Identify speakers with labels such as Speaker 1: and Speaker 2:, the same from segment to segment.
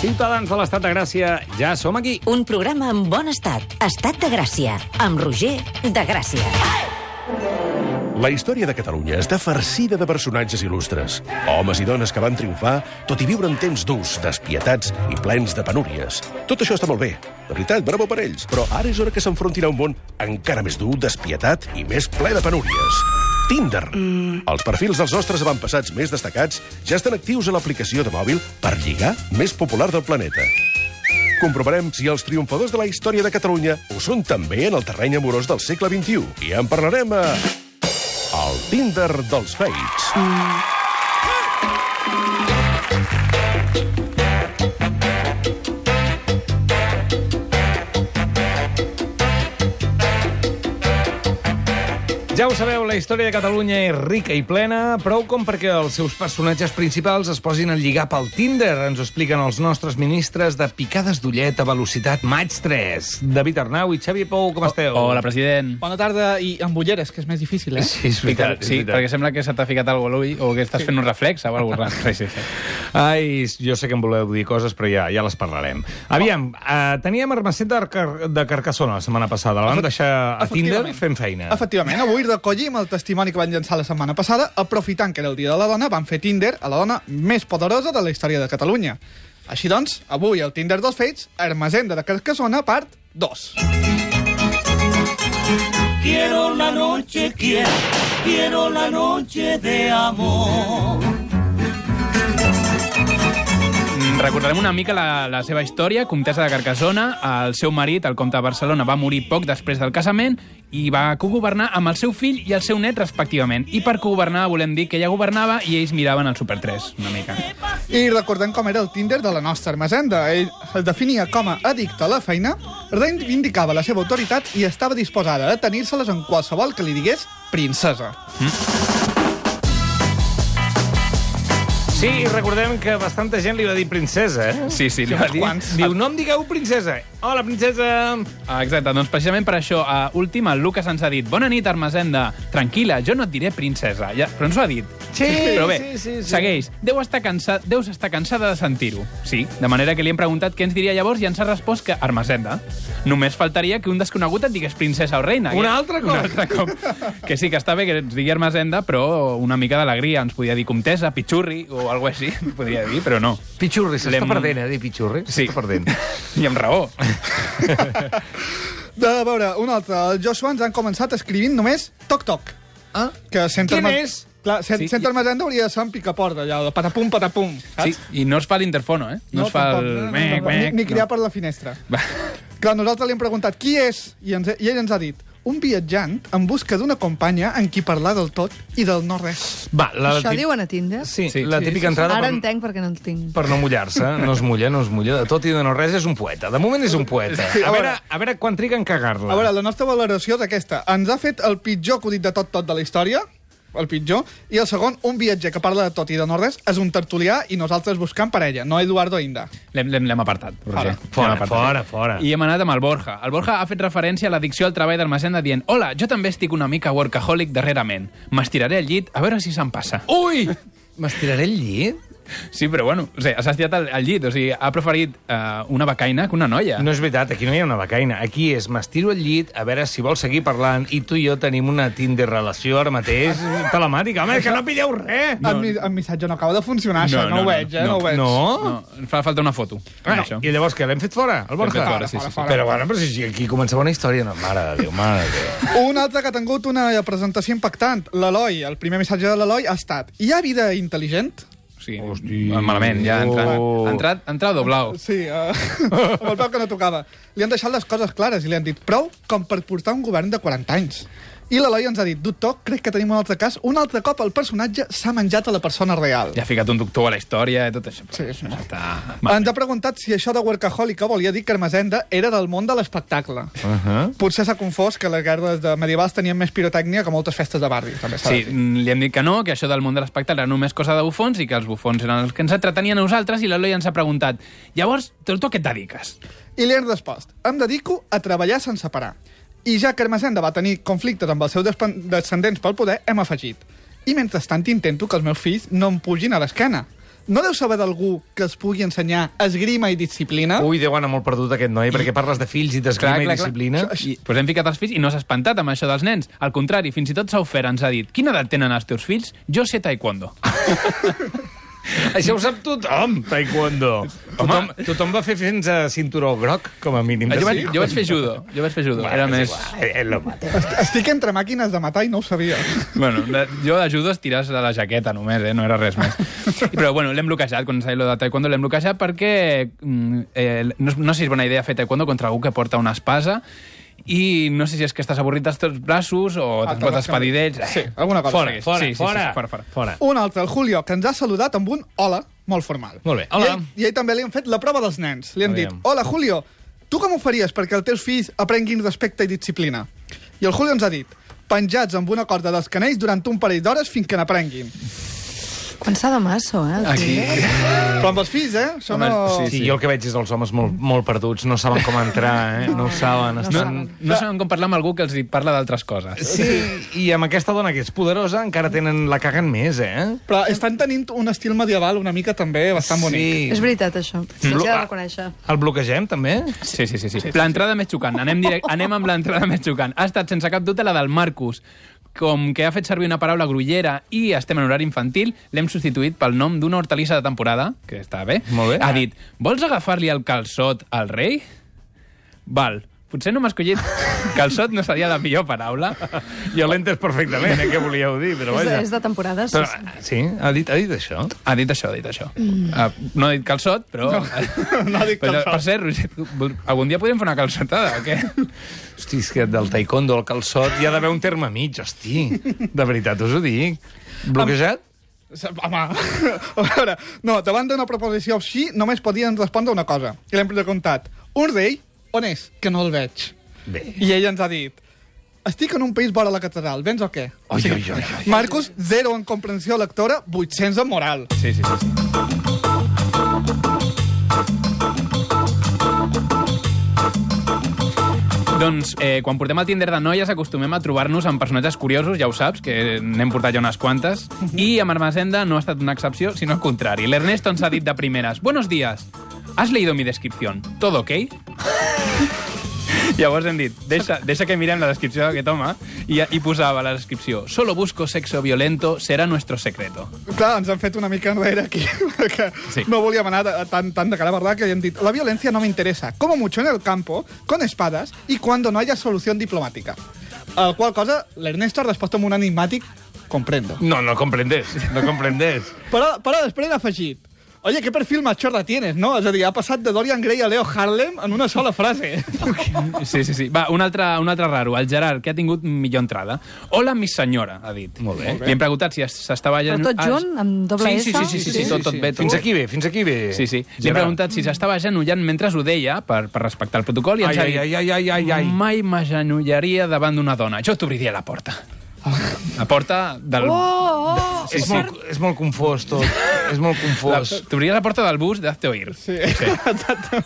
Speaker 1: Ciutadans de l'Estat de Gràcia, ja som aquí.
Speaker 2: Un programa en bon estat. Estat de Gràcia. Amb Roger de Gràcia.
Speaker 3: La història de Catalunya està farcida de personatges il·lustres. Homes i dones que van triomfar, tot i viure en temps durs, despietats i plens de penúries. Tot això està molt bé. De veritat, bravo per ells. Però ara és hora que s'enfrontin a un món encara més dur, despietat i més ple de penúries. Tinder. Mm. Els perfils dels nostres avantpassats més destacats ja estan actius a l'aplicació de mòbil per lligar més popular del planeta. Comprovarem si els triomfadors de la història de Catalunya ho són també en el terreny amorós del segle XXI. I en parlarem a... El Tinder dels Fates.
Speaker 1: Ja ho sabeu, la història de Catalunya és rica i plena, prou com perquè els seus personatges principals es posin a lligar pel Tinder. Ens ho expliquen els nostres ministres de picades d'ullet a velocitat maig 3. David Arnau i Xavi Pou, com esteu?
Speaker 4: Hola, president.
Speaker 5: Bona tarda, i amb ulleres, que és més difícil, eh?
Speaker 1: Sí, és veritat.
Speaker 4: sí,
Speaker 1: és
Speaker 4: perquè
Speaker 1: veritat.
Speaker 4: sembla que se t'ha ficat alguna cosa a l'ull o que estàs fent un reflex o alguna cosa. Sí, sí, sí.
Speaker 1: Ai, jo sé que em voleu dir coses, però ja, ja les parlarem. Aviam, eh, teníem Hermesset de, Car de Carcassona la setmana passada. La vam deixar a Tinder
Speaker 5: Efectivament.
Speaker 1: fent feina.
Speaker 5: Efectivament, avui recollim el testimoni que van llançar la setmana passada, aprofitant que era el Dia de la Dona, van fer Tinder a la dona més poderosa de la història de Catalunya. Així doncs, avui el Tinder dels fets, Hermesenda de Carcassona, part 2.
Speaker 6: Quiero la noche, quiero, quiero la noche de amor.
Speaker 4: Mm, Recordarem una mica la, la seva història, comtessa de Carcassona, el seu marit, el comte de Barcelona, va morir poc després del casament i va cogovernar amb el seu fill i el seu net, respectivament. I per cogovernar volem dir que ella governava i ells miraven el Super 3, una mica.
Speaker 5: I recordem com era el Tinder de la nostra Hermesenda. Ell es definia com a addicte a la feina, reivindicava la seva autoritat i estava disposada a tenir-se-les en qualsevol que li digués princesa.
Speaker 1: Sí, i recordem que bastanta gent li va dir princesa, eh?
Speaker 4: Sí, sí, li va dir...
Speaker 5: Quants?
Speaker 1: Diu, no em digueu princesa. Hola, princesa.
Speaker 4: Ah, Exacte, doncs precisament per això, a última, el Lucas ens ha dit Bona nit, Armesenda, tranquil·la, jo no et diré princesa. Ja, però ens ho ha dit.
Speaker 1: Sí,
Speaker 4: però bé,
Speaker 1: sí, sí, sí.
Speaker 4: segueix. Deu estar, cansa... Deus estar cansada de sentir-ho. Sí, de manera que li hem preguntat què ens diria llavors i ens ha respost que Armesenda. Només faltaria que un desconegut et digués princesa o reina.
Speaker 1: Un
Speaker 4: Que-
Speaker 1: altre cop.
Speaker 4: Un altre cop. que sí, que està bé que ens digui Armesenda, però una mica d'alegria. Ens podia dir comtessa, pitxurri o alguna cosa així. Podria dir, però no.
Speaker 1: Pichurri, s'està
Speaker 4: L'hem-
Speaker 1: perdent, eh, dir Pichurri.
Speaker 4: Sí.
Speaker 1: S'està perdent.
Speaker 4: I amb raó.
Speaker 5: De a veure, un altre. Els Joshua ens han començat escrivint només toc-toc. Ah? Que Center
Speaker 1: Quin
Speaker 5: Ma-
Speaker 1: és?
Speaker 5: Clar, cent,
Speaker 4: Sí,
Speaker 5: sí, Center Masenda hauria de ser un picaport, allò, de patapum, patapum.
Speaker 4: Sí,
Speaker 5: Saps?
Speaker 4: I no es fa l'interfono, eh? No, es fa
Speaker 5: tampoc,
Speaker 4: el...
Speaker 5: no, no,
Speaker 4: mec,
Speaker 5: tampoc. ni,
Speaker 4: mec,
Speaker 5: ni
Speaker 4: no.
Speaker 5: criar per la finestra.
Speaker 4: Va.
Speaker 5: Clar, nosaltres li hem preguntat qui és, i, ens, i ell ens ha dit un viatjant en busca d'una companya en qui parlar del tot i del no res.
Speaker 1: Va, la
Speaker 7: Això
Speaker 1: tip-
Speaker 7: diuen a Tinder?
Speaker 1: Sí,
Speaker 4: Sí,
Speaker 1: la
Speaker 4: sí,
Speaker 1: típica entrada
Speaker 7: Ara
Speaker 1: per,
Speaker 7: entenc per què no el tinc.
Speaker 1: per no mullar-se. eh? No es mulla, no es mulla. De tot i de no res és un poeta. De moment és un poeta.
Speaker 5: Sí,
Speaker 1: A
Speaker 5: a
Speaker 1: veure,
Speaker 5: veure.
Speaker 1: a veure quan triga en cagar-la.
Speaker 5: A veure, la nostra valoració és aquesta. Ens ha fet el pitjor acudit de tot tot de la història, el pitjor, i el segon, un viatger que parla de tot i de no res, és un tertulià i nosaltres buscant parella, no Eduardo Inda.
Speaker 4: L'hem- L'hem l'hem apartat, Roger.
Speaker 5: Fora.
Speaker 1: Fora,
Speaker 4: L'hem apartat.
Speaker 1: fora, fora.
Speaker 4: I hem anat amb el Borja. El Borja ha fet referència a l'addicció al treball del Macenda dient «Hola, jo també estic una mica workaholic darrerament. M'estiraré al llit a veure si se'n passa».
Speaker 1: Ui! M'estiraré el llit?
Speaker 4: Sí, però bueno, o sigui, s'ha estirat al, al llit. O sigui, ha preferit eh, una becaina que una noia.
Speaker 1: No és veritat, aquí no hi ha una becaina. Aquí és m'estiro al llit, a veure si vols seguir parlant, i tu i jo tenim una Tinder relació ara mateix telemàtica. Home, que no pilleu res!
Speaker 5: No. El, mi- el missatge no acaba de funcionar, això.
Speaker 4: No,
Speaker 5: No,
Speaker 4: no,
Speaker 5: no, ho veig, eh? No,
Speaker 4: no,
Speaker 5: ho veig.
Speaker 1: No?
Speaker 4: No, fa falta una foto.
Speaker 1: Ah,
Speaker 4: amb això.
Speaker 1: I llavors què, l'hem fet fora, el Borja?
Speaker 4: fet fora, sí,
Speaker 1: Fora,
Speaker 4: sí,
Speaker 1: fora. Però bueno, però si aquí començava una història, no, mare de Déu, mare de Déu.
Speaker 5: Un altre que ha tingut una presentació impactant, l'Eloi. El primer missatge de l'Eloi ha estat Hi ha vida intel·ligent?
Speaker 4: Sí,
Speaker 1: Hosti.
Speaker 4: malament, ja ha entrat.
Speaker 1: Oh.
Speaker 4: Ha entrat, ha entrat doblau.
Speaker 5: Sí, uh, amb el peu que no tocava. Li han deixat les coses clares i li han dit prou com per portar un govern de 40 anys. I l'Eloi ens ha dit, doctor, crec que tenim un altre cas. Un altre cop el personatge s'ha menjat a la persona real.
Speaker 4: Ja ha ficat un doctor a la història i tot això. però
Speaker 5: Sí, sí.
Speaker 4: això Està...
Speaker 5: Ens ha preguntat si això de workaholica volia dir que Hermesenda era del món de l'espectacle. Uh -huh. Potser s'ha confós que les guerres de medievals tenien més pirotècnia que moltes festes de barri. També s'ha de
Speaker 4: Sí,
Speaker 5: dir.
Speaker 4: mm, li hem dit que no, que això del món de l'espectacle era només cosa de bufons i que els bufons eren els que ens entretenien a nosaltres i l'Eloi ens ha preguntat llavors, tu, tu a què et dediques?
Speaker 5: I li han respost, em dedico a treballar sense parar. I ja que Hermesenda va tenir conflictes amb els seus despen- descendents pel poder, hem afegit. I mentrestant intento que els meus fills no em pugin a l'esquena. No deu saber d'algú que es pugui ensenyar esgrima i disciplina?
Speaker 1: Ui, Déu, anar molt perdut aquest noi, perquè parles de fills i d'esgrima i disciplina.
Speaker 4: I, pues hem ficat els fills i no s'ha espantat amb això dels nens. Al contrari, fins i tot s'ha ofert, ens ha dit quina edat tenen els teus fills? Jo sé taekwondo.
Speaker 1: Ah, Això ho sap tothom, taekwondo. Tothom, tothom va fer fins a cinturó groc, com a mínim.
Speaker 4: Jo,
Speaker 1: de
Speaker 4: vaig, jo vaig fer
Speaker 1: taekwondo.
Speaker 4: judo. Jo vaig fer judo.
Speaker 1: Bueno,
Speaker 4: Era
Speaker 1: és
Speaker 4: més...
Speaker 1: igual, eh, eh, lo mate.
Speaker 5: Estic entre màquines de matar i no ho sabia.
Speaker 4: Bueno, de- jo de judo estiràs de la jaqueta només, eh? no era res més. Però bueno, l'hem bloquejat, quan s'ha dit lo de taekwondo l'hem bloquejat perquè mm, eh, no, és- no sé si és bona idea fer taekwondo contra algú que porta una espasa i no sé si és que estàs avorrit dels teus braços o
Speaker 5: Ah,
Speaker 4: te'n
Speaker 5: te
Speaker 4: pots
Speaker 5: vas
Speaker 4: espadir d'ells.
Speaker 5: Sí, alguna cosa.
Speaker 4: Fora,
Speaker 5: Sí,
Speaker 4: fora, sí, sí, fora. Sí, fora, fora.
Speaker 1: Fora.
Speaker 5: Un altre, el Julio, que ens ha saludat amb un hola molt formal.
Speaker 1: Molt bé.
Speaker 5: I
Speaker 1: Hola.
Speaker 5: ell, i ell també li han fet la prova dels nens. Li han
Speaker 1: Aviam.
Speaker 5: dit, hola, Julio, tu com ho faries perquè els teus fills aprenguin respecte i disciplina? I el Julio ens ha dit, penjats amb una corda dels canells durant un parell d'hores fins que n'aprenguin.
Speaker 7: Quan de maso, eh? el
Speaker 4: Aquí.
Speaker 7: Tinder.
Speaker 5: Però amb els fills, eh? Això
Speaker 4: Home,
Speaker 5: no...
Speaker 1: Sí, sí, jo el que veig és els homes molt, molt perduts, no saben com entrar, eh? no ho saben.
Speaker 4: No,
Speaker 1: Estan...
Speaker 4: no saben com parlar amb algú que els hi parla d'altres coses.
Speaker 1: Sí, i amb aquesta dona que és poderosa encara tenen la caguen més, eh?
Speaker 5: Però estan tenint un estil medieval una mica també bastant bonic.
Speaker 7: És veritat, això. Sí,
Speaker 1: Blo-
Speaker 7: s'ha de reconèixer.
Speaker 1: El bloquegem, també?
Speaker 4: Sí, sí, sí. sí. L'entrada més xocant. Anem, direct... Anem amb l'entrada més xocant. Ha estat, sense cap dubte, la del Marcus. Com que ha fet servir una paraula grollera i estem en horari infantil, l'hem substituït pel nom d'una hortalissa de temporada, que està bé.
Speaker 1: Molt bé.
Speaker 4: Ha dit, vols agafar-li el calçot al rei? Val, potser no m'ha escollit. Calçot no seria la millor paraula.
Speaker 1: Jo l'entes perfectament, eh, què volíeu dir, però
Speaker 7: És,
Speaker 1: vaja.
Speaker 7: és de temporada, sí,
Speaker 1: Però, ah,
Speaker 7: sí.
Speaker 1: sí, ha dit, ha dit això.
Speaker 4: Ha dit això, ha dit això. Uh, no ha dit calçot, però... No,
Speaker 5: no ha dit calçot.
Speaker 4: Per cert, Roger, tu vol- algun dia podríem fer una calçotada o què?
Speaker 1: Hosti, és que del taekwondo al calçot hi ha d'haver un terme mig, hosti. De veritat, us ho dic. Bloquejat?
Speaker 5: Sí. Home, a veure, no, davant d'una proposició així només podien respondre una cosa. I l'hem preguntat, un rei, on és? Que no el veig.
Speaker 1: Bé.
Speaker 5: I ell ens ha dit, estic en un país vora la catedral, vens o què?
Speaker 1: Oi, oi, oi, oi.
Speaker 5: Marcus, zero en comprensió lectora, 800 en moral.
Speaker 4: Sí, sí, sí. sí. Doncs eh, quan portem el Tinder de noies acostumem a trobar-nos amb personatges curiosos, ja ho saps, que n'hem portat ja unes quantes, i amb Armacenda no ha estat una excepció, sinó al contrari. L'Ernesto ens ha dit de primeres, «Buenos días, ¿has leído mi descripción? ¿Todo ok?» Llavors hem dit, deixa, deixa que mirem la descripció d'aquest home, i, i posava la descripció, «Solo busco sexo violento, será nuestro secreto».
Speaker 5: Clar, ens han fet una mica enrere aquí, perquè
Speaker 4: Sí.
Speaker 5: sí. no volíem anar de- tan, tan de cara, ¿verdad? Que li hem dit, la violència no m'interessa, como mucho en el campo, con espadas, y cuando no haya solución diplomática. Al qual cosa, l'Ernesto ha respost amb un enigmàtic, comprendo.
Speaker 1: No, no comprendes, no comprendes.
Speaker 5: Però, però després ha afegit, Oye, qué perfil machorra tienes, no? És a dir, ha passat de Dorian Gray a Leo Harlem en una sola frase.
Speaker 4: Sí, sí, sí. Va, un altre, un altre raro, el Gerard, que ha tingut millor entrada. Hola, mi senyora, ha dit. Molt bé. Li hem preguntat si es- s'estava...
Speaker 7: Però tot junt, amb doble
Speaker 4: sí, sí, sí,
Speaker 7: S?
Speaker 4: sí, sí, sí, sí, tot, tot bé. Tot.
Speaker 1: Eh, Fins aquí bé, fins aquí bé.
Speaker 4: Sí, sí. Li hem
Speaker 1: Gerard.
Speaker 4: preguntat si s'estava agenollant mentre ho deia, per, per respectar el protocol, i ens
Speaker 1: Ai,
Speaker 4: ha
Speaker 1: ai,
Speaker 4: dit...
Speaker 1: ai, ai, ai, ai, ai.
Speaker 4: Mai m'agenollaria davant d'una dona. Jo t'obriria la porta. La porta del...
Speaker 7: Oh, oh!
Speaker 1: És, molt, és molt confós tot, és molt
Speaker 4: la-
Speaker 1: confós.
Speaker 4: T'obriria la porta del bus d'Hazte Oír.
Speaker 5: Sí, exacte.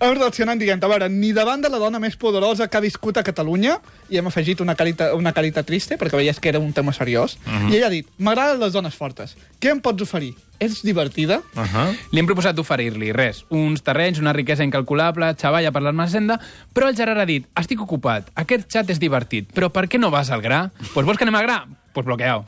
Speaker 5: Hem reaccionat dient, a veure, ni davant de la dona més poderosa que ha viscut a Catalunya, i hem afegit una carita, una carita triste, perquè veies que era un tema seriós, i ella ha dit, m'agraden les dones fortes, què em pots oferir? Ets divertida?
Speaker 1: Uh
Speaker 4: Ah.
Speaker 1: -huh.
Speaker 4: Li hem proposat d'oferir-li res, uns terrenys, una riquesa incalculable, xavalla per l'Armacenda, però el Gerard ha dit, estic ocupat, aquest xat és divertit, però per què no vas al gra? Pues vols que anem al gra? Pues bloqueau.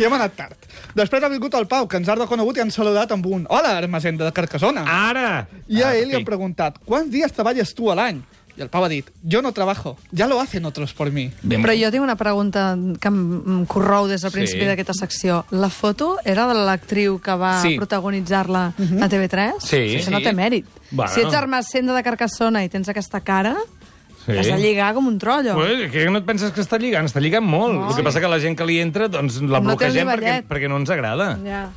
Speaker 5: I hem anat tard. Després ha vingut el Pau, que ens ha reconegut i han saludat amb un hola, Hermesenda de Carcassona.
Speaker 1: Ara!
Speaker 5: I a ell li
Speaker 4: Ah, sí.
Speaker 5: han preguntat, quants dies treballes tu a l'any? I el Pau ha dit, jo no trabajo, ja lo hacen otros por mi.
Speaker 4: Ben,
Speaker 7: Però jo tinc una pregunta que em em corrou des del
Speaker 4: Sí.
Speaker 7: principi d'aquesta secció. La foto era de l'actriu que va
Speaker 4: Sí.
Speaker 7: protagonitzar-la a TV3?
Speaker 1: Sí.
Speaker 7: Això no té mèrit.
Speaker 1: Bueno.
Speaker 7: Si ets armacenda de Carcassona i tens aquesta cara,
Speaker 1: Sí.
Speaker 7: has de lligar com un trollo.
Speaker 1: Ué, que no et penses que està lligant? Està lligant molt. El que passa que la gent que li entra, doncs la
Speaker 7: No té el
Speaker 1: bloquegem perquè,
Speaker 7: nivellet.
Speaker 1: perquè no ens agrada.
Speaker 7: Ja.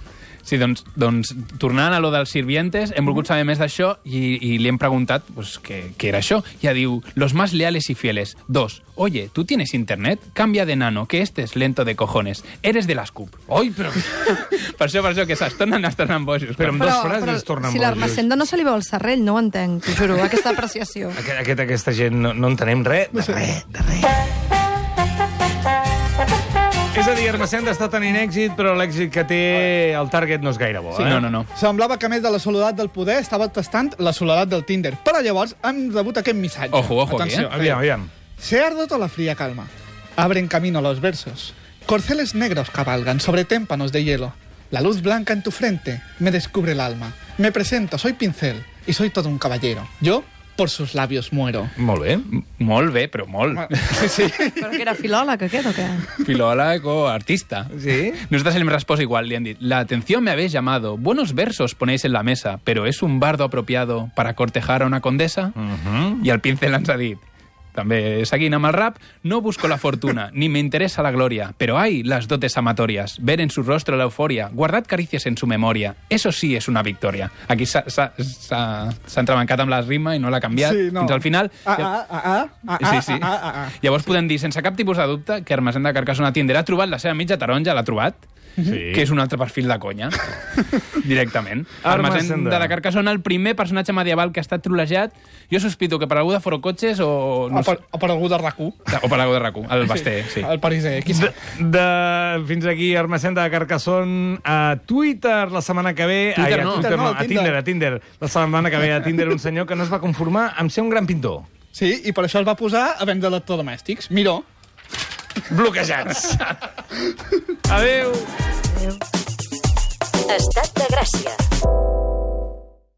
Speaker 4: Sí, doncs, doncs, tornant a lo dels sirvientes, hem volgut saber més d'això i, i li hem preguntat pues, què, què era això. Ja diu, los más leales y fieles. Dos, oye, ¿tú tienes internet? Cambia de nano, que este es lento de cojones. Eres de las CUP.
Speaker 1: Oi, però,
Speaker 4: per això, per això, que s'estonen, estaran bojos.
Speaker 1: però amb dues frases es tornen
Speaker 7: si
Speaker 1: bojos.
Speaker 7: l'armacenda no se li veu el serrell, no ho entenc, t'ho juro, aquesta apreciació.
Speaker 1: Aquest, aquest, aquesta gent no, no entenem res de res. De res. És a dir, Hermesenda està tenint èxit, però l'èxit que té el target no és gaire bo.
Speaker 4: Sí,
Speaker 1: eh?
Speaker 4: no, no, no.
Speaker 5: Semblava que, a més de la soledat del poder, estava tastant la soledat del Tinder. Però llavors hem rebut aquest missatge.
Speaker 4: Ojo, ojo, aquí, eh?
Speaker 5: Atenció.
Speaker 1: Aviam, aviam.
Speaker 5: Se ha roto la fría calma. Abren camino los versos. Corceles negros cabalgan sobre témpanos de hielo. La luz blanca en tu frente me descubre el alma. Me presento, soy pincel y soy todo un caballero. Yo por sus labios muero.
Speaker 1: Molt bé.
Speaker 4: Molt bé, però molt.
Speaker 5: Sí, sí.
Speaker 7: Però que era filòleg, aquest, o què?
Speaker 4: Filòleg o artista.
Speaker 1: Sí.
Speaker 4: Nosotros le hemos respuesto igual, le han dicho, la atención me habéis llamado, buenos versos ponéis en la mesa, pero ¿es un bardo apropiado para cortejar a una condesa? Y al pincel han dit, també és aquí amb el rap, no busco la fortuna, ni me interesa la gloria, pero hay las dotes amatorias, ver en su rostro la euforia, guardad caricias en su memoria, eso sí es una victoria. Aquí s'ha s'ha- s'ha- s'ha entrebancat amb la rima i no l'ha canviat
Speaker 5: Sí, no.
Speaker 4: fins al final.
Speaker 5: Ah, ah, ah, ah, ah,
Speaker 4: Sí, sí.
Speaker 5: ah, ah, ah, ah.
Speaker 4: Llavors podem dir, sense cap tipus de dubte, que Hermesenda Carcassona Tinder ha trobat la seva mitja taronja, l'ha trobat,
Speaker 5: Mhm.
Speaker 1: Sí.
Speaker 4: que és un altre perfil de conya, directament.
Speaker 1: Armesenda.
Speaker 4: Hermesenda de Carcassona, el primer personatge medieval que ha estat trolejat, jo sospito que per algú de Forocotxes o...
Speaker 5: O
Speaker 4: No
Speaker 5: per, o per algú de rac
Speaker 4: sé, o per algú de RAC1, el Basté, sí.
Speaker 5: El pariser, qui
Speaker 1: De,
Speaker 5: sap?
Speaker 1: de, fins aquí, Hermesenda de Carcassonne. A Twitter, la setmana que ve...
Speaker 4: Twitter
Speaker 1: a
Speaker 4: no.
Speaker 1: Twitter, no, a
Speaker 5: Tinder.
Speaker 1: Tinder, a Tinder. La setmana que ve a Tinder un senyor que no es va conformar amb ser un gran pintor.
Speaker 5: Sí, i per això es va posar a vendre electrodomèstics. Miró.
Speaker 1: Bloquejats. Adeu.
Speaker 2: Estat de Gràcia